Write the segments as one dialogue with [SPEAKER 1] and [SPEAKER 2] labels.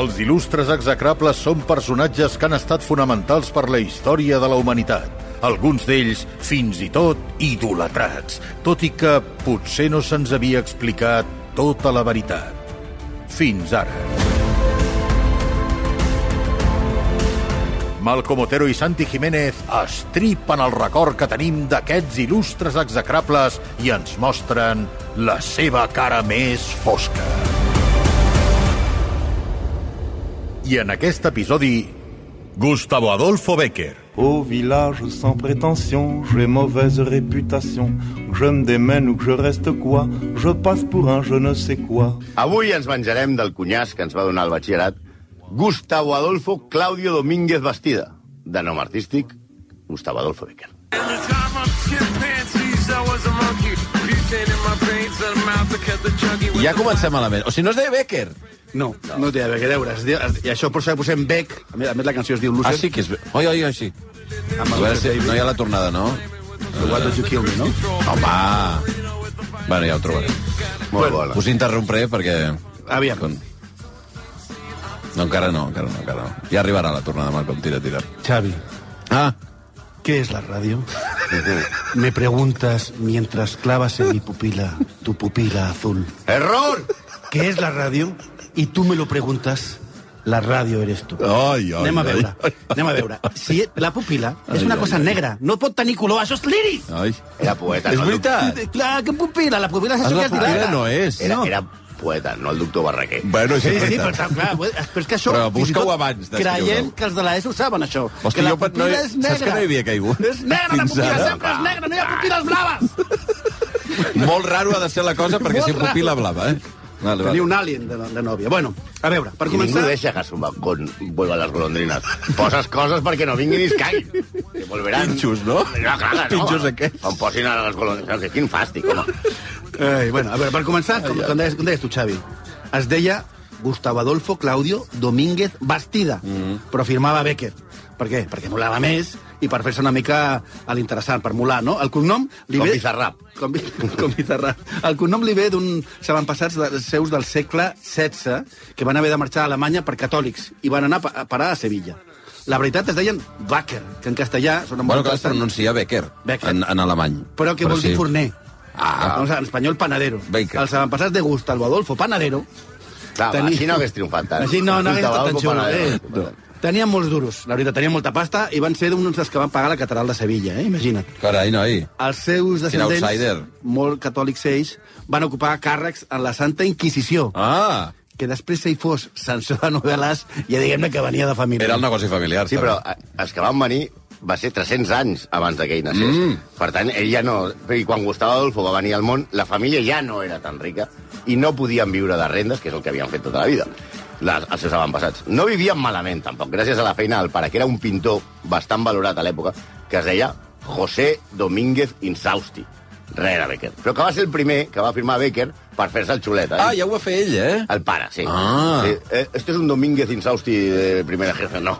[SPEAKER 1] Els il·lustres execrables són personatges que han estat fonamentals per la història de la humanitat. Alguns d'ells, fins i tot, idolatrats, tot i que potser no se'ns havia explicat tota la veritat. Fins ara. Malcom Otero i Santi Jiménez estripen el record que tenim d'aquests il·lustres execrables i ens mostren la seva cara més fosca. I en aquest episodi, Gustavo Adolfo Becker.
[SPEAKER 2] Au village sans prétention, j'ai mauvaise réputation. Que Je me démène ou que je reste quoi, je passe pour un je ne sais quoi.
[SPEAKER 3] Avui ens menjarem del cunyàs que ens va donar el batxillerat Gustavo Adolfo Claudio Domínguez Bastida, de nom artístic Gustavo Adolfo Becker.
[SPEAKER 4] Every time I'm chimpanzees, I was a monkey. Butane in my veins, and mouth to cut the chuggy with
[SPEAKER 5] Ja comencem malament. O sigui, no es deia Becker.
[SPEAKER 6] No, no, no té a veure, a veure. Es diu, es, I això per això posem Beck. A més, a més la cançó es diu Loser.
[SPEAKER 5] Ah, sí que és... Be- Oi, oi, oi, sí. A
[SPEAKER 6] Amb el
[SPEAKER 5] veure si no hi ha la tornada, no?
[SPEAKER 6] What did you kill me, no?
[SPEAKER 5] Home! Bueno, ja ho trobarem.
[SPEAKER 3] Molt bona.
[SPEAKER 5] Us interrompré perquè...
[SPEAKER 6] Aviam.
[SPEAKER 5] Con- No, encara no, encara no, encara no. Ja arribarà la tornada, Malcom, tira, tira.
[SPEAKER 6] Xavi,
[SPEAKER 5] Ah,
[SPEAKER 6] ¿qué es la radio? Me preguntas mientras clavas en mi pupila tu pupila azul.
[SPEAKER 3] Error!
[SPEAKER 6] ¿Qué es la radio? Y tú me lo preguntas, la radio eres tú.
[SPEAKER 5] Ai, ai,
[SPEAKER 6] Anem a
[SPEAKER 5] ai,
[SPEAKER 6] veure,
[SPEAKER 5] ai.
[SPEAKER 6] anem a veure. Si la pupila és
[SPEAKER 5] Ai,
[SPEAKER 6] una
[SPEAKER 5] ai,
[SPEAKER 6] cosa
[SPEAKER 5] ai.
[SPEAKER 6] negra, no pot tenir color, això és l'iris!
[SPEAKER 5] ai.
[SPEAKER 3] Era poeta,
[SPEAKER 5] És
[SPEAKER 3] no? el doc-
[SPEAKER 5] veritat?
[SPEAKER 6] Clar, que pupila, la pupila
[SPEAKER 5] És
[SPEAKER 6] és això que
[SPEAKER 5] Ah. la
[SPEAKER 6] es
[SPEAKER 5] pupil·la,
[SPEAKER 6] dilata.
[SPEAKER 5] no és.
[SPEAKER 3] Era,
[SPEAKER 6] No.
[SPEAKER 3] era poeta, no el doctor Barraquer.
[SPEAKER 5] Bueno,
[SPEAKER 6] Sí, sí,
[SPEAKER 5] veritat.
[SPEAKER 6] però, clar, clar, però és pues, que això...
[SPEAKER 5] Però
[SPEAKER 6] fins i tot,
[SPEAKER 5] busca-ho abans d'escriure-ho.
[SPEAKER 6] Creiem que els de l'ESO saben això.
[SPEAKER 5] Hosti,
[SPEAKER 6] que la
[SPEAKER 5] jo pe- no
[SPEAKER 6] pupila
[SPEAKER 5] he-
[SPEAKER 6] és
[SPEAKER 5] saps
[SPEAKER 6] negra.
[SPEAKER 5] que no hi havia caigut?
[SPEAKER 6] És negra, la
[SPEAKER 5] Fins
[SPEAKER 6] pupila
[SPEAKER 5] ara. Ah.
[SPEAKER 6] sempre és negra, no hi ha pupiles blaves!
[SPEAKER 5] Molt raro ha de ser la cosa perquè
[SPEAKER 6] Molt
[SPEAKER 5] si pupil·la blava, eh? Vale,
[SPEAKER 6] Tenia un alien de, de nòvia. Bueno, a veure, per
[SPEAKER 3] I ningú
[SPEAKER 6] començar...
[SPEAKER 3] deixa que s'ho con vuelvan las golondrinas. Poses coses perquè no vinguin i es caiguin. Que volveran...
[SPEAKER 5] Pinxos, no?
[SPEAKER 3] No, clar, no.
[SPEAKER 5] Pinxos aquests.
[SPEAKER 3] Quan posin a les golondrines. Que quin fàstic, home.
[SPEAKER 6] Ai, bueno, a veure, per començar, com, com, deies, com deies tu, Xavi, es deia Gustavo Adolfo Claudio Domínguez Bastida, però firmava Becker. Per què? Perquè molava més i per fer-se una mica a l'interessant, per molar, no? El cognom...
[SPEAKER 3] Com Bizarrap.
[SPEAKER 6] Com, Bi- com Bizarrap. El cognom li ve d'un avantpassats de, seus del segle XVI que van haver de marxar a Alemanya per catòlics i van anar a pa- a parar a Sevilla. La veritat es deien Baker, que en castellà sona molt
[SPEAKER 5] Bueno, clar, es
[SPEAKER 6] interessant,
[SPEAKER 5] pronuncia Becker,
[SPEAKER 6] Becker.
[SPEAKER 5] En, en alemany.
[SPEAKER 6] però que vol dir forner.
[SPEAKER 5] Ah.
[SPEAKER 6] O sigui, en espanyol, panadero.
[SPEAKER 5] Baker.
[SPEAKER 6] Els avantpassats de Gustavo Adolfo Panadero
[SPEAKER 3] Clar,
[SPEAKER 6] Tenir-
[SPEAKER 3] així no hagués triomfat tant.
[SPEAKER 6] Així no, no hagués estat tan xulo. Eh?
[SPEAKER 3] xulo.
[SPEAKER 6] Tenien molts duros, la veritat, tenien molta pasta i van ser d'uns dels que van pagar la catedral de Sevilla, eh? imagina't.
[SPEAKER 5] Carai, noi.
[SPEAKER 6] Els seus
[SPEAKER 5] outsider.
[SPEAKER 6] descendents, molt catòlics ells, van ocupar càrrecs en la Santa Inquisició,
[SPEAKER 5] Ah!
[SPEAKER 6] que després si fos sanció de novel·les, ja diguem-ne que venia de família.
[SPEAKER 5] Era el negoci familiar.
[SPEAKER 3] Sí, però eh, els que van venir va ser 300 anys abans de que ell naixés. Mm. Per tant, ell ja no... I quan Gustavo Adolfo va venir al món, la família ja no era tan rica i no podien viure de rendes, que és el que havien fet tota la vida, les, els seus avantpassats. No vivien malament, tampoc, gràcies a la feina del pare, que era un pintor bastant valorat a l'època, que es deia José Domínguez Insausti. Res era Becker. Però que va ser el primer que va firmar Becker per fer-se el xulet. Eh?
[SPEAKER 5] Ah, ja ho va fer ell, eh?
[SPEAKER 3] El pare, sí.
[SPEAKER 5] Ah.
[SPEAKER 3] sí. Eh, Este és un Domínguez Insausti de primera jefe, no.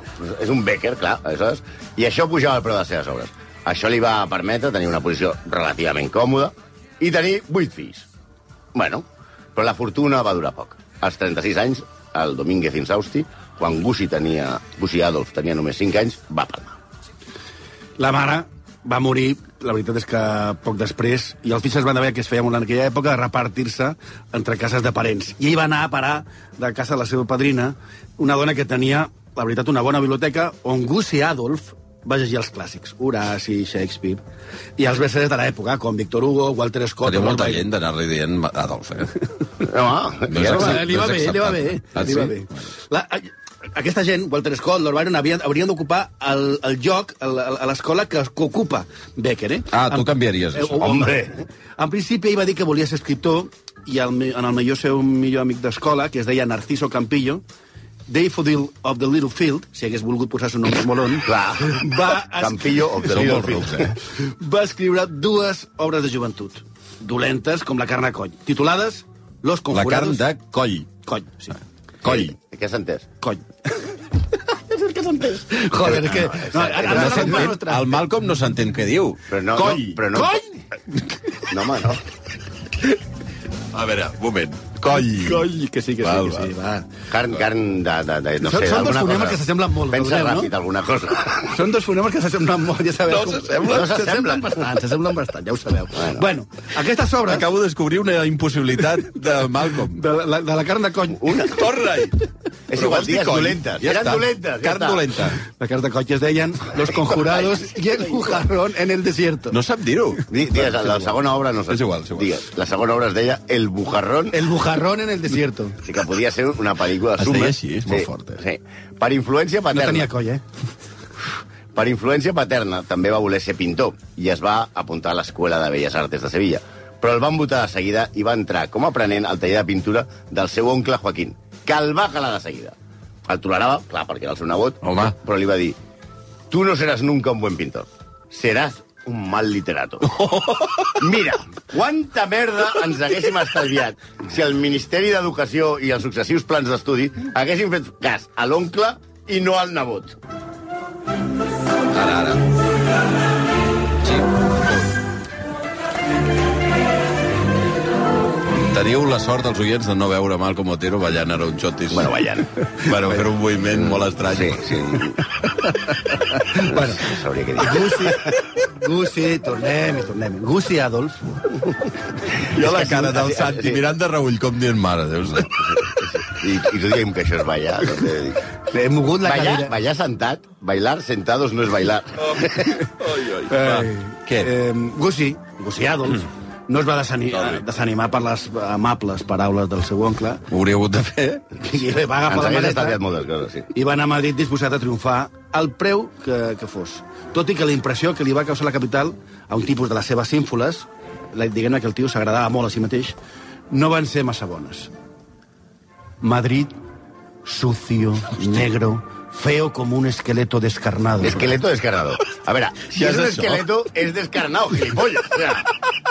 [SPEAKER 3] És un Becker, clar, aleshores. I això pujava el preu de les seves obres. Això li va permetre tenir una posició relativament còmoda i tenir vuit fills. Bueno, però la fortuna va durar poc. Als 36 anys, el Domínguez Insausti, quan Gussi tenia... Gussi Adolf tenia només 5 anys, va palmar.
[SPEAKER 6] La mare va morir, la veritat és que poc després, i els fills es van haver, que es feia molt en aquella època, de repartir-se entre cases de parents. I ell va anar a parar de casa de la seva padrina, una dona que tenia, la veritat, una bona biblioteca, on Gussi Adolf va llegir els clàssics, Horaci, Shakespeare, i els bestsellers de l'època, com Victor Hugo, Walter Scott...
[SPEAKER 5] Teniu molta
[SPEAKER 6] Orwell.
[SPEAKER 5] gent d'anar-li dient Adolf, eh?
[SPEAKER 3] No, ah,
[SPEAKER 5] No és
[SPEAKER 3] ja no
[SPEAKER 5] exacte.
[SPEAKER 3] va...
[SPEAKER 6] Ah, li va
[SPEAKER 5] No és
[SPEAKER 6] bé, li va bé.
[SPEAKER 5] acceptat. Ah,
[SPEAKER 6] Li va
[SPEAKER 5] sí?
[SPEAKER 6] bé. La, a- aquesta gent, Walter Scott, Lord Byron, havien, haurien d'ocupar el, el lloc el- el- a l'escola que, que ocupa Becker, eh?
[SPEAKER 5] Ah, tu
[SPEAKER 6] En-
[SPEAKER 5] canviaries
[SPEAKER 6] eh,
[SPEAKER 5] això.
[SPEAKER 6] o- o-
[SPEAKER 5] Hombre.
[SPEAKER 6] En principi, ell va dir que volia ser escriptor i el, mi- en el millor seu millor amic d'escola, que es deia Narciso Campillo, Daffodil of the Little Field, si hagués volgut posar-se un nom molon,
[SPEAKER 3] Clar.
[SPEAKER 6] va, es,
[SPEAKER 3] Campillo of the
[SPEAKER 5] Són
[SPEAKER 3] Little
[SPEAKER 5] molt rucs,
[SPEAKER 3] Fields.
[SPEAKER 5] eh?
[SPEAKER 6] va escriure dues obres de joventut, dolentes com la carn a coll, titulades Los
[SPEAKER 5] La carn
[SPEAKER 6] Conjurados...
[SPEAKER 5] de Ah. coll.
[SPEAKER 6] Coll, sí.
[SPEAKER 5] Coll.
[SPEAKER 3] Què s'ha entès?
[SPEAKER 6] Coll. és el que s'ha entès. Joder, és que...
[SPEAKER 3] Ah,
[SPEAKER 5] No
[SPEAKER 6] No, ara, ara, ara,
[SPEAKER 5] s'entén-
[SPEAKER 6] ara, ara,
[SPEAKER 5] el Malcolm no s'entén què diu.
[SPEAKER 3] Però no,
[SPEAKER 5] coll.
[SPEAKER 3] No, però no...
[SPEAKER 6] Coll!
[SPEAKER 3] No, home, no.
[SPEAKER 5] A veure, un moment. Coll.
[SPEAKER 6] Coll, que sí, que
[SPEAKER 5] Val,
[SPEAKER 6] sí, que sí, va.
[SPEAKER 3] Carn, carn de, de, de no
[SPEAKER 6] Són-
[SPEAKER 3] sé,
[SPEAKER 6] són dos
[SPEAKER 3] d'alguna
[SPEAKER 6] fonemes
[SPEAKER 3] cosa.
[SPEAKER 6] que s'assemblen molt,
[SPEAKER 3] Pensa
[SPEAKER 6] veureu, no?
[SPEAKER 3] ràpid alguna cosa.
[SPEAKER 6] Són dos fonemes que s'assemblen molt, ja sabeu.
[SPEAKER 5] No
[SPEAKER 6] com-
[SPEAKER 5] s'assemblen.
[SPEAKER 6] No s'assemblen bastant, s'assemblen bastant, ja ho sabeu. Bueno, bueno aquestes obres...
[SPEAKER 5] Acabo de descobrir una impossibilitat de Malcolm.
[SPEAKER 6] De la, de la carn de coll.
[SPEAKER 5] Una. Torna-hi!
[SPEAKER 3] És
[SPEAKER 5] Però
[SPEAKER 3] igual,
[SPEAKER 5] vols dir
[SPEAKER 3] digues
[SPEAKER 5] coll?
[SPEAKER 3] dolentes. Eren
[SPEAKER 5] està.
[SPEAKER 3] dolentes, ja
[SPEAKER 5] Carn
[SPEAKER 3] està.
[SPEAKER 5] dolenta.
[SPEAKER 6] La carn de coll que es deien Los conjurados y el bujarrón en el desierto.
[SPEAKER 5] No sap dir-ho.
[SPEAKER 3] Di- Digues, la, la segona obra no sé.
[SPEAKER 5] És igual, és igual.
[SPEAKER 3] Digues, la segona obra es deia El Bujarrón.
[SPEAKER 6] El bujarrón en el desierto.
[SPEAKER 3] O sigui que podia ser una pel·lícula de
[SPEAKER 5] Es
[SPEAKER 3] suma.
[SPEAKER 5] deia així, és molt forta.
[SPEAKER 3] Sí. Per influència
[SPEAKER 6] eh. No
[SPEAKER 3] paterna.
[SPEAKER 6] tenia coll, eh?
[SPEAKER 3] Per influència paterna, també va voler ser pintor i es va apuntar a l'Escola de Belles Artes de Sevilla. Però el van votar de seguida i va entrar com a aprenent al taller de pintura del seu oncle Joaquín, que el va calar de seguida. El tolerava, clar, perquè era el seu nebot,
[SPEAKER 5] Home.
[SPEAKER 3] però li va dir tu no seràs nunca un buen pintor, seràs un mal literato. Mira, quanta merda ens haguéssim estalviat si el Ministeri d'Educació i els successius plans d'estudi haguessin fet cas a l'oncle i no al nebot.
[SPEAKER 5] Ara, ara. Sí. Teniu la sort, els oients, de no veure Malcom Otero ballant aronxotis.
[SPEAKER 3] Bueno, ballant.
[SPEAKER 5] Bueno, fer un moviment molt estrany.
[SPEAKER 3] Sí, sí.
[SPEAKER 6] Bueno,
[SPEAKER 3] No sabria què dir.
[SPEAKER 6] Gussi, Gussi, tornem i tornem. Gussi Adolf,
[SPEAKER 5] Jo la
[SPEAKER 3] És que
[SPEAKER 5] cara
[SPEAKER 3] sí,
[SPEAKER 5] del
[SPEAKER 3] sí,
[SPEAKER 5] Santi
[SPEAKER 3] sí.
[SPEAKER 5] mirant de reull, com dient mare, Déu
[SPEAKER 3] I, i tu diguem que això és ballar. També dic.
[SPEAKER 6] he Eh, mogut la
[SPEAKER 3] Ballar,
[SPEAKER 6] cadira.
[SPEAKER 3] ballar sentat, bailar sentados no és bailar.
[SPEAKER 5] Ah,
[SPEAKER 6] Ai,
[SPEAKER 5] Què?
[SPEAKER 6] Eh, Gussi, Gussi Adolf, no es va desani-
[SPEAKER 5] Adolf.
[SPEAKER 6] desanimar per les amables paraules del seu oncle
[SPEAKER 5] Ho hauria hagut de fer.
[SPEAKER 6] i va agafar
[SPEAKER 3] Ens
[SPEAKER 6] la
[SPEAKER 3] hagués
[SPEAKER 6] maleta
[SPEAKER 3] estalviat moltes coses, sí.
[SPEAKER 6] i va anar a Madrid disposat a triomfar al preu que, que fos. Tot i que la impressió que li va causar la capital a un tipus de les seves sínfoles, la- diguem-ne que el tio s'agradava molt a si mateix, no van ser massa bones. Madrid, sucio, negro, feo como un esqueleto descarnado.
[SPEAKER 3] Esqueleto descarnado. A veure, si
[SPEAKER 5] Què
[SPEAKER 3] és
[SPEAKER 5] és
[SPEAKER 3] un
[SPEAKER 5] això?
[SPEAKER 3] esqueleto, és descarnado, gilipolles. O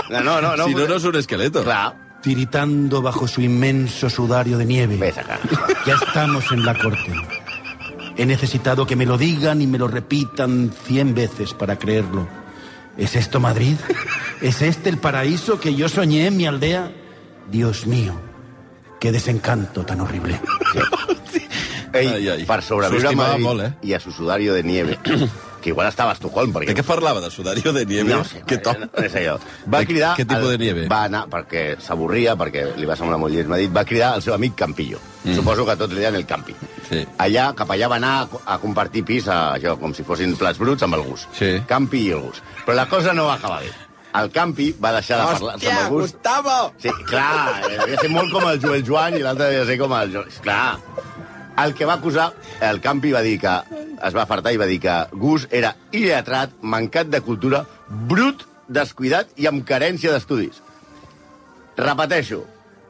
[SPEAKER 3] sea, no, no, no.
[SPEAKER 5] si no, no és un esqueleto.
[SPEAKER 3] Clar,
[SPEAKER 6] Tiritando bajo su inmenso sudario de nieve.
[SPEAKER 3] ves a cara.
[SPEAKER 6] Ya estamos en la corte. He necesitado que me lo digan y me lo repitan cien veces para creerlo. ¿Es esto Madrid? ¿Es este el paraíso que yo soñé en mi aldea? Dios mío, qué desencanto tan horrible.
[SPEAKER 3] Ei,
[SPEAKER 5] Ai, ai.
[SPEAKER 3] per sobreviure a
[SPEAKER 5] S'estimava
[SPEAKER 3] Madrid
[SPEAKER 5] molt, eh?
[SPEAKER 3] i a su sudario de nieve, que igual estava a Estocolm, perquè...
[SPEAKER 5] De què parlava? De sudario de nieve?
[SPEAKER 3] No sé,
[SPEAKER 5] que
[SPEAKER 3] no,
[SPEAKER 5] top.
[SPEAKER 3] no és allò. Va
[SPEAKER 5] De
[SPEAKER 3] cridar...
[SPEAKER 5] Què tipus
[SPEAKER 3] al-
[SPEAKER 5] de nieve?
[SPEAKER 3] Va anar, perquè s'avorria, perquè li va semblar molt lleig, m'ha dit, va cridar al seu amic Campillo. Mm. Suposo que tots li deien el Campi.
[SPEAKER 5] Sí.
[SPEAKER 3] Allà, cap allà va anar a, co- a compartir pis, a, això, com si fossin plats bruts, amb el gust.
[SPEAKER 5] Sí.
[SPEAKER 3] Campi i el gust. Però la cosa no va acabar bé. El Campi va deixar de parlar amb el gust.
[SPEAKER 5] Gustavo!
[SPEAKER 3] Sí, clar, eh, devia ser molt com el Joel Joan i l'altre devia ser com el Joel... Clar. El que va acusar, el Campi va dir que es va fartar i va dir que Gus era il·letrat, mancat de cultura, brut, descuidat i amb carència d'estudis. Repeteixo,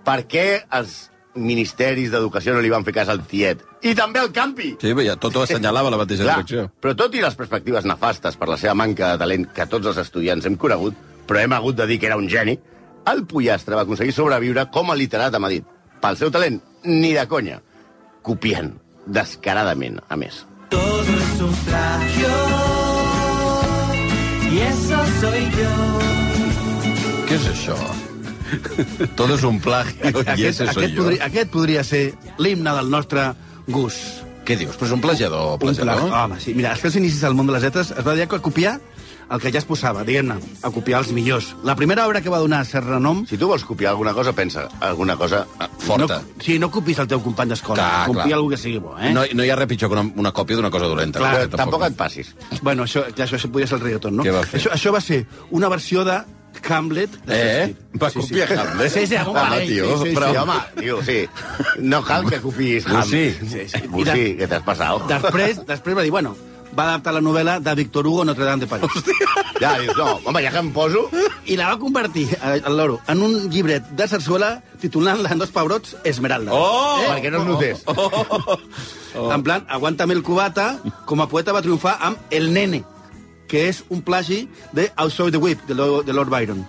[SPEAKER 3] per què els ministeris d'educació no li van fer cas al tiet? I també al Campi!
[SPEAKER 5] Sí, veia, tot ho assenyalava la mateixa direcció.
[SPEAKER 3] però tot i les perspectives nefastes per la seva manca de talent que tots els estudiants hem conegut, però hem hagut de dir que era un geni, el pollastre va aconseguir sobreviure com a literat a Madrid. Pel seu talent, ni de conya. Copiant, descaradament, a més.
[SPEAKER 7] Todo es un plagio y eso soy yo.
[SPEAKER 5] Què és això? Tot és un plagio i ese soy
[SPEAKER 6] aquest,
[SPEAKER 5] jo.
[SPEAKER 6] podria, aquest podria ser l'himne del nostre gust.
[SPEAKER 5] Què dius? Però és un plagiador,
[SPEAKER 6] Un pla...
[SPEAKER 5] plagiador? Ah,
[SPEAKER 6] Home, sí. Mira, els seus inicis al món de les lletres es va dedicar a copiar el que ja es posava, diguem-ne, a copiar els millors. La primera obra que va donar cert renom
[SPEAKER 3] Si tu vols copiar alguna cosa, pensa alguna cosa... eh,
[SPEAKER 5] Ah, Forta.
[SPEAKER 6] No, sí, no copis el teu company d'escola.
[SPEAKER 5] Clar,
[SPEAKER 6] Copia
[SPEAKER 5] clar.
[SPEAKER 6] algú que sigui bo, eh?
[SPEAKER 5] No, no hi ha res pitjor que una, una còpia d'una cosa dolenta.
[SPEAKER 6] Clar,
[SPEAKER 3] Però
[SPEAKER 5] Perquè
[SPEAKER 3] tampoc et passis.
[SPEAKER 6] Bueno, això, clar, això sí, podia ser el reggaeton, no?
[SPEAKER 5] Què va fer?
[SPEAKER 6] Això, això va ser una versió de Hamlet. De
[SPEAKER 5] Eh?
[SPEAKER 6] Shakespeare.
[SPEAKER 5] Va copiar Hamlet?
[SPEAKER 6] Sí, sí, algun
[SPEAKER 5] Home,
[SPEAKER 6] parell,
[SPEAKER 5] tio,
[SPEAKER 6] sí, sí,
[SPEAKER 5] però-
[SPEAKER 3] Sí, home, tio, sí. No cal que copiïs Ham.
[SPEAKER 5] Bussí.
[SPEAKER 3] Sí, sí.
[SPEAKER 6] I
[SPEAKER 3] Bussí,
[SPEAKER 6] de-
[SPEAKER 3] que t'has passat.
[SPEAKER 6] Després, després va dir, bueno, va adaptar la novel·la de Victor Hugo Notre Dame de París.
[SPEAKER 3] Ja, dius, no, home, ja que em poso...
[SPEAKER 6] I la va convertir, eh, el loro, en un llibret de sarsuela titulant-la en dos pebrots Esmeralda.
[SPEAKER 5] Oh!
[SPEAKER 3] Perquè no es notés.
[SPEAKER 6] Oh. En plan, aguanta'm el cubata, com a poeta va triomfar amb El Nene, que és un plagi de Outside the Whip, de, Lo- de Lord Byron.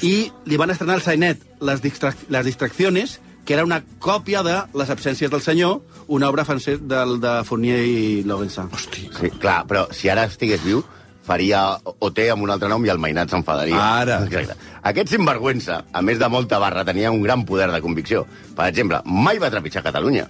[SPEAKER 6] I li van estrenar al Sainet les, distrac les distraccions, que era una còpia de Les absències del senyor, una obra francès del, de Fournier i Lovensa.
[SPEAKER 3] Sí, clar, però si ara estigués viu, faria OT amb un altre nom i el mainat s'enfadaria.
[SPEAKER 5] Ara.
[SPEAKER 3] Exacte. Aquest sinvergüenza, a més de molta barra, tenia un gran poder de convicció. Per exemple, mai va trepitjar Catalunya,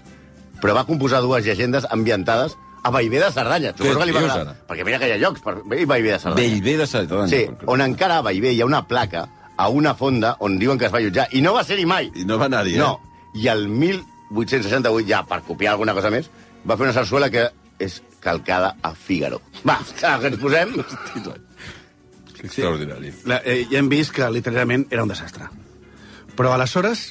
[SPEAKER 3] però va composar dues llegendes ambientades a Baivé de Cerdanya. Suposo que li va
[SPEAKER 5] dius,
[SPEAKER 3] agradar,
[SPEAKER 5] ara?
[SPEAKER 3] perquè mira que hi ha llocs per i Baivé de Cerdanya.
[SPEAKER 5] Bellver de Cerdanya.
[SPEAKER 3] Sí, on encara a Baivé hi ha una placa a una fonda on diuen que es va allotjar, i no va ser-hi mai.
[SPEAKER 5] I no va anar-hi, eh?
[SPEAKER 3] No, i el 1868, ja per copiar alguna cosa més, va fer una sarsuela que és calcada a Fígaro. Va, que ens posem...
[SPEAKER 5] Extraordinari.
[SPEAKER 6] La, eh, ja hem vist que literalment era un desastre. Però aleshores,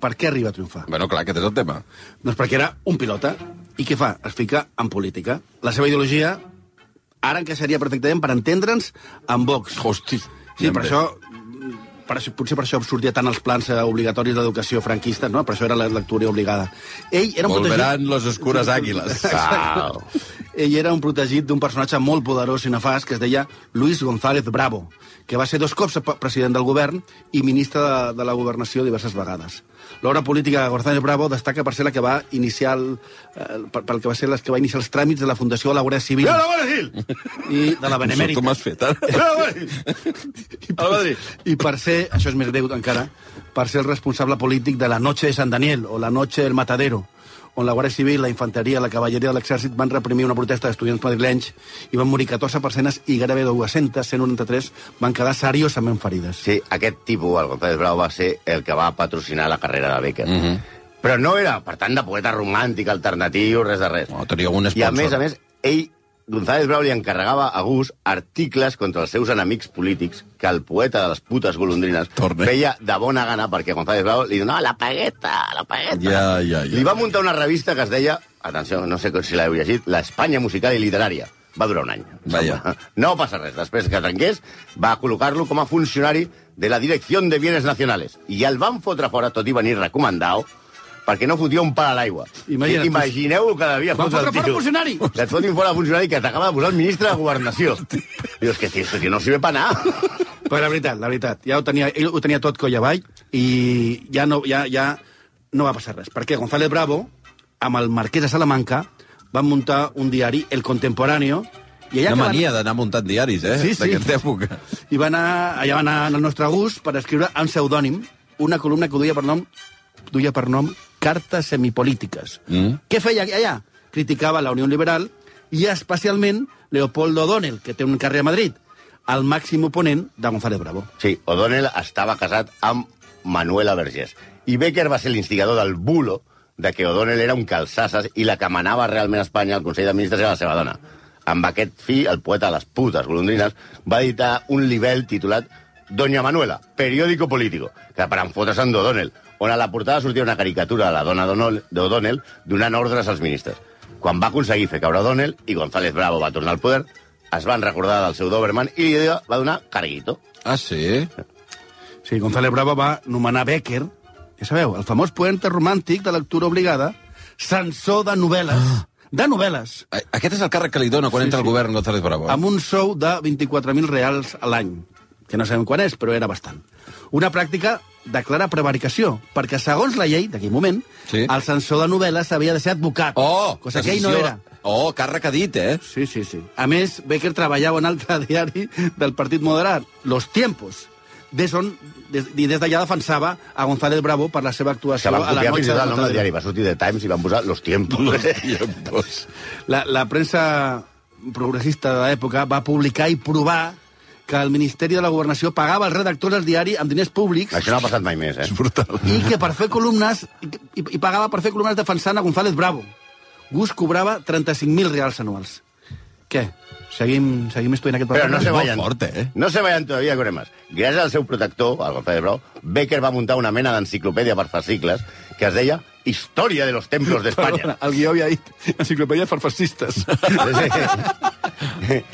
[SPEAKER 6] per què arriba a triomfar?
[SPEAKER 5] Bueno, clar, aquest és el tema.
[SPEAKER 6] Doncs perquè era un pilota. I què fa? Es fica en política. La seva ideologia ara encaixaria perfectament per entendre'ns amb Vox.
[SPEAKER 5] Hosti.
[SPEAKER 6] Sí, per això, per això, potser per això sortia tant els plans eh, obligatoris d'educació franquista, no? per això era la lectura obligada. Ell era un
[SPEAKER 5] Volverán
[SPEAKER 6] protegit...
[SPEAKER 5] los oscuras águilas.
[SPEAKER 3] Au.
[SPEAKER 6] Ell era un protegit d'un personatge molt poderós i nefast que es deia Luis González Bravo, que va ser dos cops pe- president del govern i ministre de, de la governació diverses vegades. L'obra política de González Bravo destaca per ser la que va iniciar el, eh, per- pel que va ser les que va iniciar els tràmits de la Fundació de la Guàrdia Civil i de la
[SPEAKER 5] Tu
[SPEAKER 6] Benemèrita.
[SPEAKER 5] m'has fet, ara?
[SPEAKER 6] I per, I per ser, això és més greu encara, per ser el responsable polític de la Noche de Sant Daniel o la Noche del Matadero, on la Guàrdia Civil, la Infanteria, la Cavalleria de l'Exèrcit van reprimir una protesta d'estudiants madrilenys i van morir 14 persones i gairebé 200, 193, van quedar seriosament ferides.
[SPEAKER 3] Sí, aquest tipus, el González Bravo, va ser el que va patrocinar la carrera de Becker.
[SPEAKER 5] Mhm. Mm-hmm.
[SPEAKER 3] Mm -hmm. Però no era, per tant, de poeta romàntic, alternatiu, res de res.
[SPEAKER 5] No, Oh, tenia un
[SPEAKER 3] I,
[SPEAKER 5] sponsor.
[SPEAKER 3] a més a més, ell, González Bravo, li encarregava a gust articles contra els seus enemics polítics que el poeta de les putes golondrines
[SPEAKER 5] Torne.
[SPEAKER 3] feia de bona gana perquè González Bravo li donava la pagueta, la pagueta.
[SPEAKER 5] Ja, ja, ja.
[SPEAKER 3] Li va muntar una revista que es deia, atenció, no sé si l'heu llegit, l'Espanya Musical i Literària. Va durar un any.
[SPEAKER 5] Vaja.
[SPEAKER 3] No passa res. Després que trenqués, va col·locar-lo com a funcionari de la Direcció de Bienes Nacionales. I el van fotre fora, tot i venir recomandat, perquè no fotia un pal a l'aigua.
[SPEAKER 6] Imagina't.
[SPEAKER 3] Imagineu el que devia
[SPEAKER 6] Van
[SPEAKER 3] fotre el
[SPEAKER 6] fotre fora
[SPEAKER 3] tio.
[SPEAKER 6] un funcionari!
[SPEAKER 3] Que et fotin fora el funcionari que t'acaba de posar el ministre de Governació. Dius que, tio, esto que no sirve pa anar.
[SPEAKER 6] Però la veritat, la veritat, ja ho tenia, ell ho tenia tot coll avall i ja no, ja, ja no va passar res. Perquè González Bravo, amb el marquès de Salamanca, van muntar un diari, El Contemporáneo, i
[SPEAKER 5] Una
[SPEAKER 6] allà que van-
[SPEAKER 5] mania d'anar muntant diaris, eh?
[SPEAKER 6] Sí, sí.
[SPEAKER 5] D'aquesta època.
[SPEAKER 6] I va anar, allà va anar al nostre gust per escriure en pseudònim una columna que duia per nom, duia per nom Cartes semipolítiques.
[SPEAKER 5] Mm.
[SPEAKER 6] Què feia allà? Criticava la Unió Liberal i especialment Leopoldo O'Donnell, que té un carrer a Madrid, el màxim oponent de González Bravo.
[SPEAKER 3] Sí, O'Donnell estava casat amb Manuela Vergés. I Becker va ser l'instigador del bulo de que O'Donnell era un calçasses i la que manava realment a Espanya al Consell de Ministres era la seva dona. Amb aquest fi, el poeta de les putes golondrines va editar un libel titulat Doña Manuela, periòdico político, que per enfotre's amb O'Donnell, on a la portada sortia una caricatura de la dona d'O'Donnell- d'O'Donnell donant ordres als ministres. Quan va aconseguir fer caure O'Donnell i González Bravo va tornar al poder, es van recordar del seu Doberman i li va donar carguito.
[SPEAKER 5] Ah, sí?
[SPEAKER 6] Sí, González Bravo va nomenar Becker, ja sabeu, el famós poeta romàntic de lectura obligada, censor de novel·les, de novel·les,
[SPEAKER 5] A- Aquest és el càrrec que li dona quan
[SPEAKER 6] Sí,
[SPEAKER 5] entra
[SPEAKER 6] sí.
[SPEAKER 5] al govern González Bravo.
[SPEAKER 6] amb un sou de 24.000 reals a l'any, que no sabem quan és, però era bastant. Una pràctica de clara prevaricació, perquè segons la llei d'aquell moment,
[SPEAKER 5] Sí.
[SPEAKER 6] sí. el censor de novel·les havia de ser advocat,
[SPEAKER 5] Oh!
[SPEAKER 6] cosa que ell no
[SPEAKER 5] decisió-
[SPEAKER 6] era.
[SPEAKER 5] Oh, càrrec a dit, eh?
[SPEAKER 6] Sí, sí, sí. A més, Becker treballava en un altre diari del Partit Moderat, Los Tiempos, des on, des, i des d'allà defensava a González Bravo per la seva
[SPEAKER 3] Se
[SPEAKER 6] actuació
[SPEAKER 3] van
[SPEAKER 6] a la
[SPEAKER 3] copiar fins i tot
[SPEAKER 6] noche de
[SPEAKER 3] el nom del diari.
[SPEAKER 6] Matadero.
[SPEAKER 3] Va sortir de Times i van posar Los Tiempos.
[SPEAKER 5] Tiempos.
[SPEAKER 6] La, la premsa progressista de l'època va publicar i provar que el Ministeri de la Governació pagava els redactors del diari amb diners públics
[SPEAKER 3] Això no ha passat mai més, eh?
[SPEAKER 5] Brutal.
[SPEAKER 6] i que per fer columnes i, i, i pagava per fer columnes defensant a González Bravo. Gus cobrava 35.000 reals anuals. Què? Seguim, seguim estudiant aquest
[SPEAKER 3] Però no se
[SPEAKER 5] molt
[SPEAKER 3] vayan.
[SPEAKER 5] fort, eh?
[SPEAKER 3] No se vayan todavía con más. Gràcies al seu protector, al González Bravo, Becker va muntar una mena d'enciclopèdia per fascicles que es deia Història de los templos d'Espanya.
[SPEAKER 6] Perdona, el guió havia dit enciclopèdia per fascistes.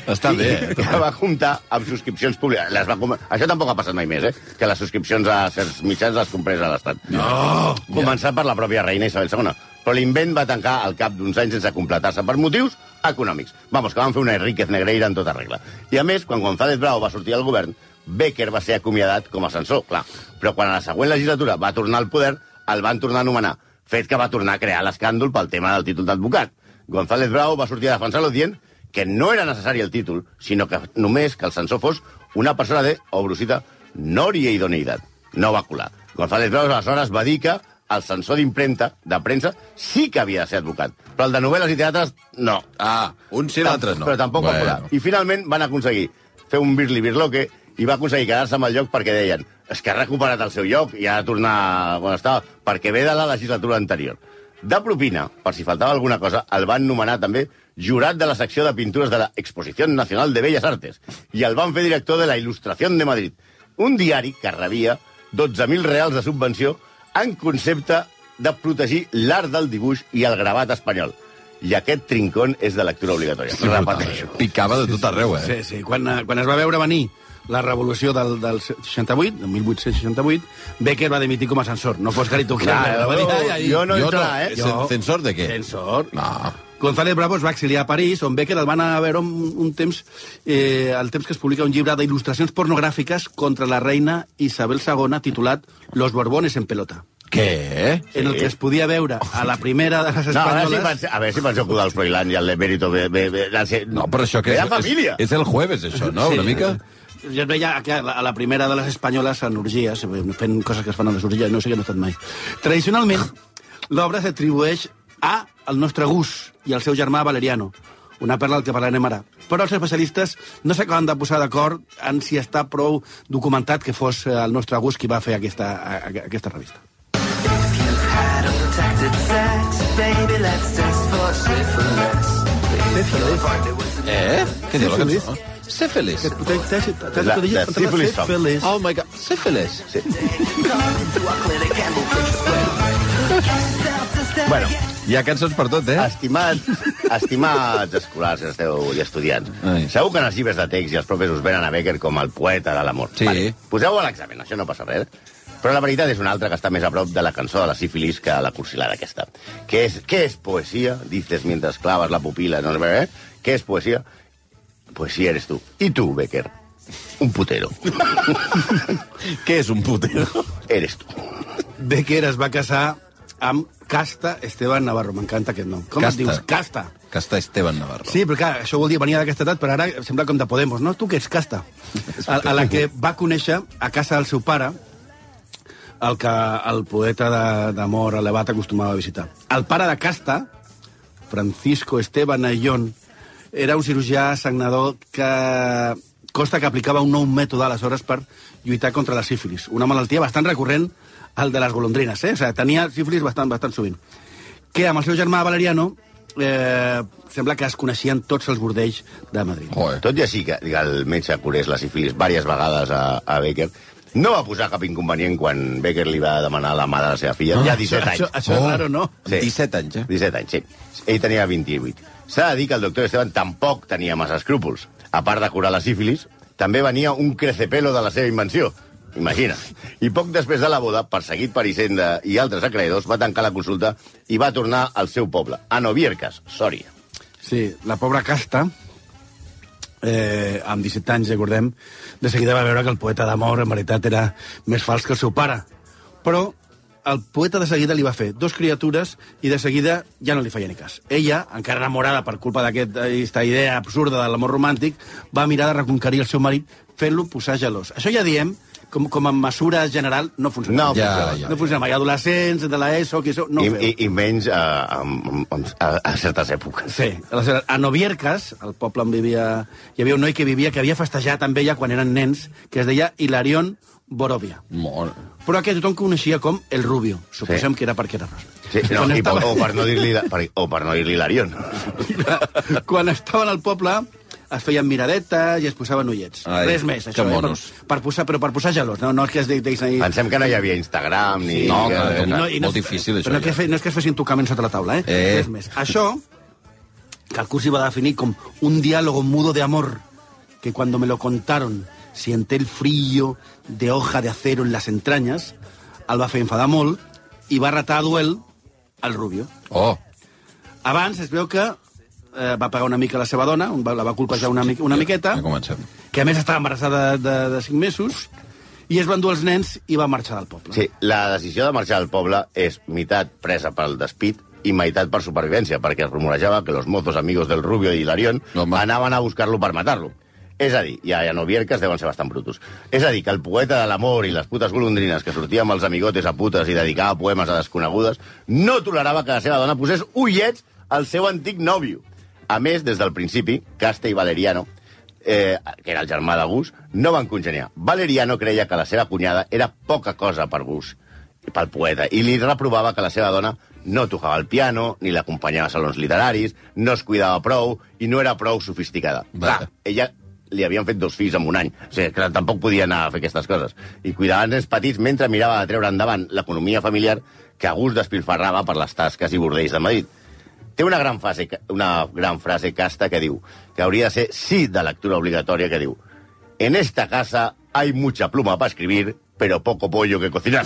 [SPEAKER 5] Està bé,
[SPEAKER 3] I,
[SPEAKER 5] eh?
[SPEAKER 3] que va comptar amb subscripcions públiques. Les va com... Això tampoc ha passat mai més, eh? Que les subscripcions a certs mitjans les comprés a l'Estat. No! Començat per la pròpia reina Isabel II. Però l'invent va tancar al cap d'uns anys sense completar-se per motius econòmics. Vamos, que van fer una Enríquez Negreira en tota regla. I a més, quan González Bravo va sortir al govern, Becker va ser acomiadat com a censor, clar. Però quan a la següent legislatura va tornar al poder, el van tornar a nomenar. Fet que va tornar a crear l'escàndol pel tema del títol d'advocat. González Bravo va sortir a defensar-lo dient que no era necessari el títol, sinó que només que el censor fos una persona de, obro cita, nòria idoneïtat. No va colar. González Braus aleshores va dir que el censor d'impremta, de premsa, sí que havia de ser advocat. Però el de novel·les i teatres, no.
[SPEAKER 5] Ah, un sí,
[SPEAKER 3] Tam-
[SPEAKER 5] l'altre no.
[SPEAKER 3] Però tampoc bueno. va
[SPEAKER 5] Bueno.
[SPEAKER 3] colar. I finalment van aconseguir fer un birli birloque i va aconseguir quedar-se amb el lloc perquè deien és que ha recuperat el seu lloc i ha de tornar on estava, perquè ve de la legislatura anterior. De propina, per si faltava alguna cosa, el van nomenar també jurat de la secció de pintures de la Exposició Nacional de Belles Artes i el van fer director de la Il·lustració de Madrid, un diari que rebia 12.000 reals de subvenció en concepte de protegir l'art del dibuix i el gravat espanyol. I aquest trincón és de lectura obligatòria. Repeteixo.
[SPEAKER 5] Picava de tot arreu, eh?
[SPEAKER 6] Sí, sí. Quan, eh, quan es va veure venir la revolució del, del 68, del 1868, Becker va dimitir com a censor. No fos que li toqués.
[SPEAKER 3] Clar,
[SPEAKER 6] Va dir,
[SPEAKER 3] jo-
[SPEAKER 6] "Ai, ai,
[SPEAKER 3] jo no entrarà, eh?"
[SPEAKER 6] Jo-
[SPEAKER 5] Censor de què?
[SPEAKER 6] Censor.
[SPEAKER 5] No.
[SPEAKER 6] González Bravo es va exiliar a París, on Becker el van anar a veure un, un temps, eh, el temps que es publica un llibre d'il·lustracions pornogràfiques contra la reina Isabel II, titulat Los Borbones en pelota,
[SPEAKER 5] Què?
[SPEAKER 6] sí. en el que es podia veure a la primera de les
[SPEAKER 3] No, a veure si
[SPEAKER 6] espanyoles...
[SPEAKER 3] penseu, a veure si penseu que del Froilán i el de Mérito... Be, be, be, la, se-
[SPEAKER 5] No, però això que
[SPEAKER 3] Era
[SPEAKER 5] és, és,
[SPEAKER 3] família.
[SPEAKER 5] és el jueves, això, no? Una mica?
[SPEAKER 6] eh, Jo et veia que a la, a la primera de les espanyoles en orgies, fent coses que es fan a les orgies, no sé què no he estat mai. Tradicionalment, l'obra s'atribueix a el nostre gust i al seu germà Valeriano, una perla del que parlarem ara. Però els especialistes no s'acaben de posar d'acord en si està prou documentat que fos eh, el nostre gust qui va fer aquesta, a- a- aquesta revista.
[SPEAKER 5] Eh? Què diu la
[SPEAKER 6] Sífilis.
[SPEAKER 5] cançó? Sé feliç.
[SPEAKER 3] La- la sífilis song.
[SPEAKER 5] Oh my God, sé feliç.
[SPEAKER 3] Bueno,
[SPEAKER 5] Hi ha cançons per tot, eh?
[SPEAKER 3] estimats, estimats escolars que esteu i estudiants,
[SPEAKER 5] Ai.
[SPEAKER 3] segur que en els llibres de text i els propers us venen a Becker com el poeta de l'amor.
[SPEAKER 5] Sí.
[SPEAKER 3] Poseu-ho a l'examen, això no passa res. Però la veritat és una altra que està més a prop de la cançó de la sífilis que la cursilada aquesta. Què és, què és poesia? Dices mentre claves la pupila. No, eh? Què és poesia? Poesia eres tu. I tu, Becker, un putero.
[SPEAKER 5] Què és un putero?
[SPEAKER 3] Eres tu.
[SPEAKER 6] Becker es va casar amb Casta Esteban Navarro. M'encanta aquest nom. Com
[SPEAKER 5] Casta.
[SPEAKER 6] et dius? Casta.
[SPEAKER 5] Que està Esteban Navarro.
[SPEAKER 6] Ah. Sí, però clar, això vol dir venia d'aquesta edat, però ara sembla com de Podemos, no? Tu que ets casta. A, a la que va conèixer a casa del seu pare, el que el poeta de- d'amor elevat acostumava a visitar. El pare de Casta, Francisco Esteban Ayllón, era un cirurgià sagnador que consta que aplicava un nou mètode aleshores per lluitar contra la sífilis, una malaltia bastant recurrent al de les golondrines, eh? O sigui, tenia sífilis bastant, bastant sovint que amb el seu germà Valeriano eh, sembla que es coneixien tots els bordells de Madrid.
[SPEAKER 5] Joder.
[SPEAKER 3] Tot i així que que el metge curés la sífilis diverses vegades a, a Becker, no va posar cap inconvenient quan Becker li va demanar la mà de la seva filla. ja 17 anys.
[SPEAKER 6] Ah, Això, això és raro, no?
[SPEAKER 5] Amb 17 Oh. anys, eh?
[SPEAKER 3] 17 anys, sí. Ell tenia 28. S'ha de dir que el doctor Esteban tampoc tenia massa escrúpols. A part de curar la sífilis, també venia un crecepelo de la seva invenció. Imagina. I poc després de la boda, perseguit per Hisenda i altres acreedors, va tancar la consulta i va tornar al seu poble, a Novierques, Sòria.
[SPEAKER 6] Sí, la pobra Casta, eh, amb 17 anys, recordem, de seguida va veure que el poeta d'amor en veritat era més fals que el seu pare. Però el poeta de seguida li va fer dos criatures i de seguida ja no li feia ni cas. Ella, encara enamorada per culpa d'aquesta idea absurda de l'amor romàntic, va mirar de reconquerir el seu marit fent-lo posar gelós. Això ja diem, com, com a mesura general, no funciona.
[SPEAKER 3] No
[SPEAKER 5] Ja,
[SPEAKER 3] funciona.
[SPEAKER 5] ja.
[SPEAKER 6] no funciona mai. Adolescents, de l'ESO, que això... No ho
[SPEAKER 3] I,
[SPEAKER 6] feu.
[SPEAKER 3] i, I menys eh, a, a, a, a certes èpoques.
[SPEAKER 6] Sí, aleshores, a Novierques, el poble on vivia... Hi havia un noi que vivia, que havia festejat amb ella quan eren nens, que es deia Hilarion Borovia.
[SPEAKER 5] Molt.
[SPEAKER 6] Però aquest tothom coneixia com el Rubio.
[SPEAKER 3] Sí.
[SPEAKER 6] Suposem sí. que era perquè era rosa.
[SPEAKER 3] Sí, no,
[SPEAKER 6] Quan
[SPEAKER 3] i,
[SPEAKER 6] estava-
[SPEAKER 3] o, per no dir-li la- per, o per no dir-li l'Arion.
[SPEAKER 6] quan estaven al poble es feien miradetes i es posaven ullets.
[SPEAKER 5] Ai,
[SPEAKER 6] Res més,
[SPEAKER 5] que
[SPEAKER 6] això.
[SPEAKER 5] monos.
[SPEAKER 6] Eh? Per, per posar, però per posar gelós, no, no és que es deguis ahir...
[SPEAKER 3] Pensem que no hi havia Instagram ni...
[SPEAKER 5] Sí, no,
[SPEAKER 3] ni-
[SPEAKER 5] clar, com-
[SPEAKER 3] eh,
[SPEAKER 5] Molt difícil, això,
[SPEAKER 6] Però no,
[SPEAKER 5] ja.
[SPEAKER 6] que, fe- no és que es fessin tocaments sota la taula, eh?
[SPEAKER 5] Eh.
[SPEAKER 6] Res més. Això, que el curs hi va definir com un diálogo mudo de amor, que cuando me lo contaron siente el frío de hoja de acero en las entrañas, el va fer enfadar molt i va retar a duel al Rubio.
[SPEAKER 5] Oh,
[SPEAKER 6] Abans es veu que eh, va pagar una mica la seva dona, va- la va colpejar una, mica, una miqueta
[SPEAKER 5] ja comencem.
[SPEAKER 6] que a més estava embarassada de, de, de 5 mesos, i es van dur els nens i va marxar del poble.
[SPEAKER 3] Sí, la decisió de marxar del poble és meitat presa pel despit i meitat per supervivència, perquè es rumorejava que los mozos amigos del Rubio i Hilarión
[SPEAKER 5] Home.
[SPEAKER 3] anaven a buscar-lo per matar-lo. És a dir, ja, ja no vierques deuen ser bastant brutos. És a dir, que el poeta de l'amor i les putes golondrines que sortia amb els amigotes a putes i dedicava poemes a desconegudes no tolerava que la seva dona posés ullets al seu antic nòvio. A més, des del principi, Casta i Valeriano, eh, que era el germà de Gus, no van congeniar. Valeriano creia que la seva cunyada era poca cosa per Gus i pel poeta, i li reprovava que la seva dona no tocava el piano, ni l'acompanyava a salons literaris, no es cuidava prou i no era prou sofisticada.
[SPEAKER 5] Va.
[SPEAKER 3] Clar, ella li havien fet dos fills en un any. O sigui, clar, tampoc podia anar a fer aquestes coses. I cuidava els nens petits mentre mirava de treure endavant l'economia familiar que a gust despilfarrava per les tasques i bordells de Madrid. Té una gran, fase, una gran frase casta que diu que hauria de ser sí de lectura obligatòria, que diu En esta casa hay mucha pluma para escribir, pero poco pollo que cocinar.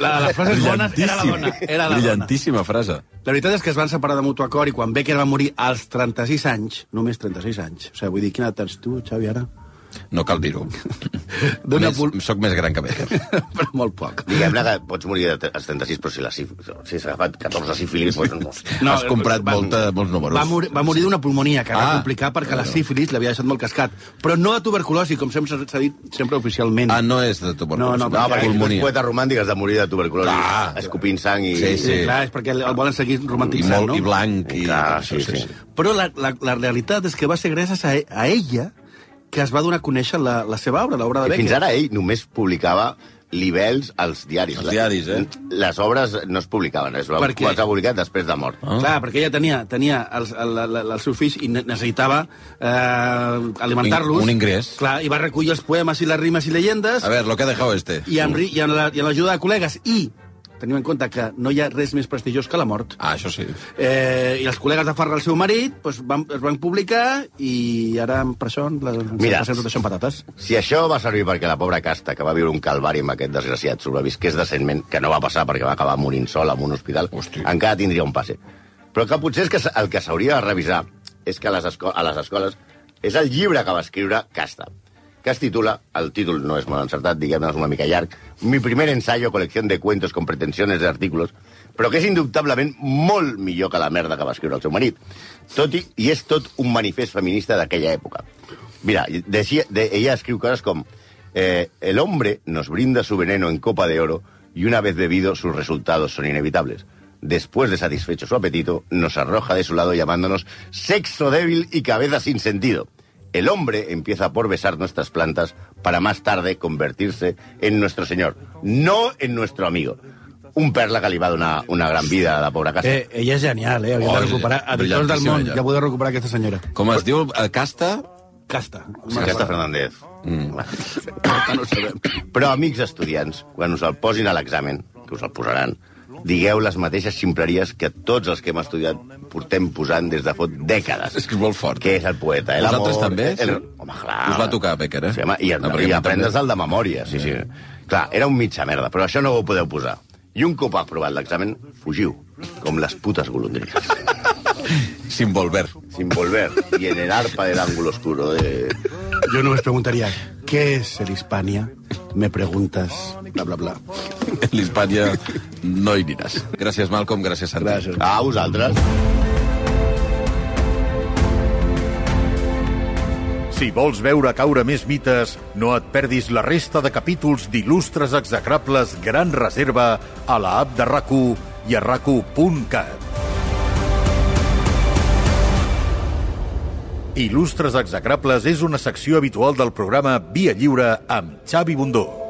[SPEAKER 6] La, la frase és bona, era la dona. Era la dona.
[SPEAKER 5] Brillantíssima frase.
[SPEAKER 6] La veritat és que es van separar de mutu acord i quan Becker va morir als 36 anys, només 36 anys, o sigui, vull dir, quina edat tens tu, Xavi, ara?
[SPEAKER 5] No cal dir-ho.
[SPEAKER 6] Dona
[SPEAKER 5] Més-
[SPEAKER 6] pul...
[SPEAKER 5] Soc més gran que Becker.
[SPEAKER 6] però molt poc.
[SPEAKER 3] Diguem-ne que pots morir de- als 36, però si l'has si has agafat 14 sífilis, doncs no.
[SPEAKER 5] No, Has comprat molta, molts números.
[SPEAKER 6] Va, mor va morir d'una pulmonia que ah, va
[SPEAKER 5] Ah.
[SPEAKER 6] complicar perquè la
[SPEAKER 5] Bueno.
[SPEAKER 6] sífilis l'havia deixat molt cascat. Però no de tuberculosi, com sempre s'ha dit sempre oficialment.
[SPEAKER 5] Ah, no és de tuberculosi. Ah,
[SPEAKER 6] No, no,
[SPEAKER 3] No, perquè tu ets
[SPEAKER 5] pulmonia.
[SPEAKER 3] poeta romàntic has de morir de tuberculosi,
[SPEAKER 5] Ah.
[SPEAKER 3] escopint sang i...
[SPEAKER 5] Sí,
[SPEAKER 6] sí, sí. Clar, és perquè el volen seguir
[SPEAKER 5] I,
[SPEAKER 6] romantitzant,
[SPEAKER 5] molt,
[SPEAKER 6] no? Ah,
[SPEAKER 5] I blanc. I...
[SPEAKER 3] Clar, sí, sí.
[SPEAKER 6] Però la, la, la realitat és que va ser gràcies a, e-, a ella que es va donar a conèixer la, la seva obra, l'obra de
[SPEAKER 3] I
[SPEAKER 6] Becker.
[SPEAKER 3] fins ara ell només publicava libels als diaris.
[SPEAKER 5] Als diaris, eh?
[SPEAKER 3] Les obres no es publicaven, es va
[SPEAKER 6] Per què?
[SPEAKER 3] es va publicar després de mort.
[SPEAKER 5] Ah.
[SPEAKER 6] Clar, perquè ella tenia, tenia els, el, el, el, els seus fills i ne- necessitava eh, alimentar-los.
[SPEAKER 5] Un- un ingrés.
[SPEAKER 6] Clar, i va recollir els poemes i les rimes i llegendes
[SPEAKER 5] A ver, lo que ha dejado este.
[SPEAKER 6] i amb, ri- i amb la- i amb l'ajuda de col·legues. I, tenim en compte que no hi ha res més prestigiós que la mort,
[SPEAKER 5] Ah, això sí.
[SPEAKER 6] eh, i els col·legues de Farra, el seu marit, doncs, van, es van publicar i ara per això la, ens
[SPEAKER 3] Mira.
[SPEAKER 6] passem tot això en patates.
[SPEAKER 3] Si això va servir perquè la pobra casta, que va viure un calvari amb aquest desgraciat, sobrevisqués decentment, que no va passar perquè va acabar morint sol en un hospital,
[SPEAKER 5] Hosti.
[SPEAKER 3] encara tindria un passe. Però que potser és que s- el que s'hauria de revisar és que a les, esco a les escoles és el llibre que va escriure Casta, que es titula, el títol no és molt encertat, diguem-ne, és una mica llarg, Mi primer ensayo, colección de cuentos con pretensiones de artículos, però que és indubtablement molt millor que la merda que va escriure el seu marit. Tot i, I és tot un manifest feminista d'aquella època. Mira, decía, de, ella escribe cosas como... eh, el hombre nos brinda su veneno en copa de oro y una vez bebido sus resultados son inevitables. Después de satisfecho su apetito, nos arroja de su lado llamándonos sexo débil y cabeza sin sentido. El hombre empieza por besar nuestras plantas para más tarde convertirse en nuestro señor, no en nuestro amigo. Un perla que le va a dar una, una gran vida a la pobre casa.
[SPEAKER 6] Eh, ella és genial, eh? Havia
[SPEAKER 5] Oh,
[SPEAKER 6] de recuperar
[SPEAKER 5] és
[SPEAKER 6] editors del món,
[SPEAKER 5] brillantíssima,
[SPEAKER 6] ja poder recuperar aquesta senyora.
[SPEAKER 5] Com es diu? eh, Casta?
[SPEAKER 6] Casta.
[SPEAKER 3] Sí, Aquesta Fernández.
[SPEAKER 6] No ho sabem.
[SPEAKER 3] Però, amics estudiants, quan us el posin a l'examen, que us el posaran, digueu les mateixes ximpleries que tots els que hem estudiat portem posant des de fot dècades.
[SPEAKER 5] És que és molt fort.
[SPEAKER 3] Què és el poeta, eh?
[SPEAKER 5] Vosaltres
[SPEAKER 3] L'amor,
[SPEAKER 5] també,
[SPEAKER 3] El...
[SPEAKER 5] sí?
[SPEAKER 3] Home, clar.
[SPEAKER 5] Us va tocar, Becker, eh?
[SPEAKER 3] Sí, home, i, el,
[SPEAKER 5] No, perquè a
[SPEAKER 3] i
[SPEAKER 5] mi
[SPEAKER 3] aprendes
[SPEAKER 5] també.
[SPEAKER 3] el de memòria, sí, sí. Clar, era un mitja merda, però això no ho podeu posar. I un cop aprovat l'examen, fugiu, com les putes golondrines.
[SPEAKER 5] Sin volver.
[SPEAKER 3] Sin volver, y en el arpa del ángulo oscuro de...
[SPEAKER 6] Jo només preguntaria, què és el Hispània? Me preguntes, bla, bla, bla.
[SPEAKER 5] En l'Hispània no hi aniràs. Gràcies, Malcolm. Gràcies, Santi.
[SPEAKER 6] Gràcies.
[SPEAKER 3] A vosaltres.
[SPEAKER 1] Si vols veure caure més mites, no et perdis la resta de capítols d'il·lustres execrables Gran Reserva a la app de rac i a rac Il·lustres execrables és una secció habitual del programa Via Lliure amb Xavi Bundó.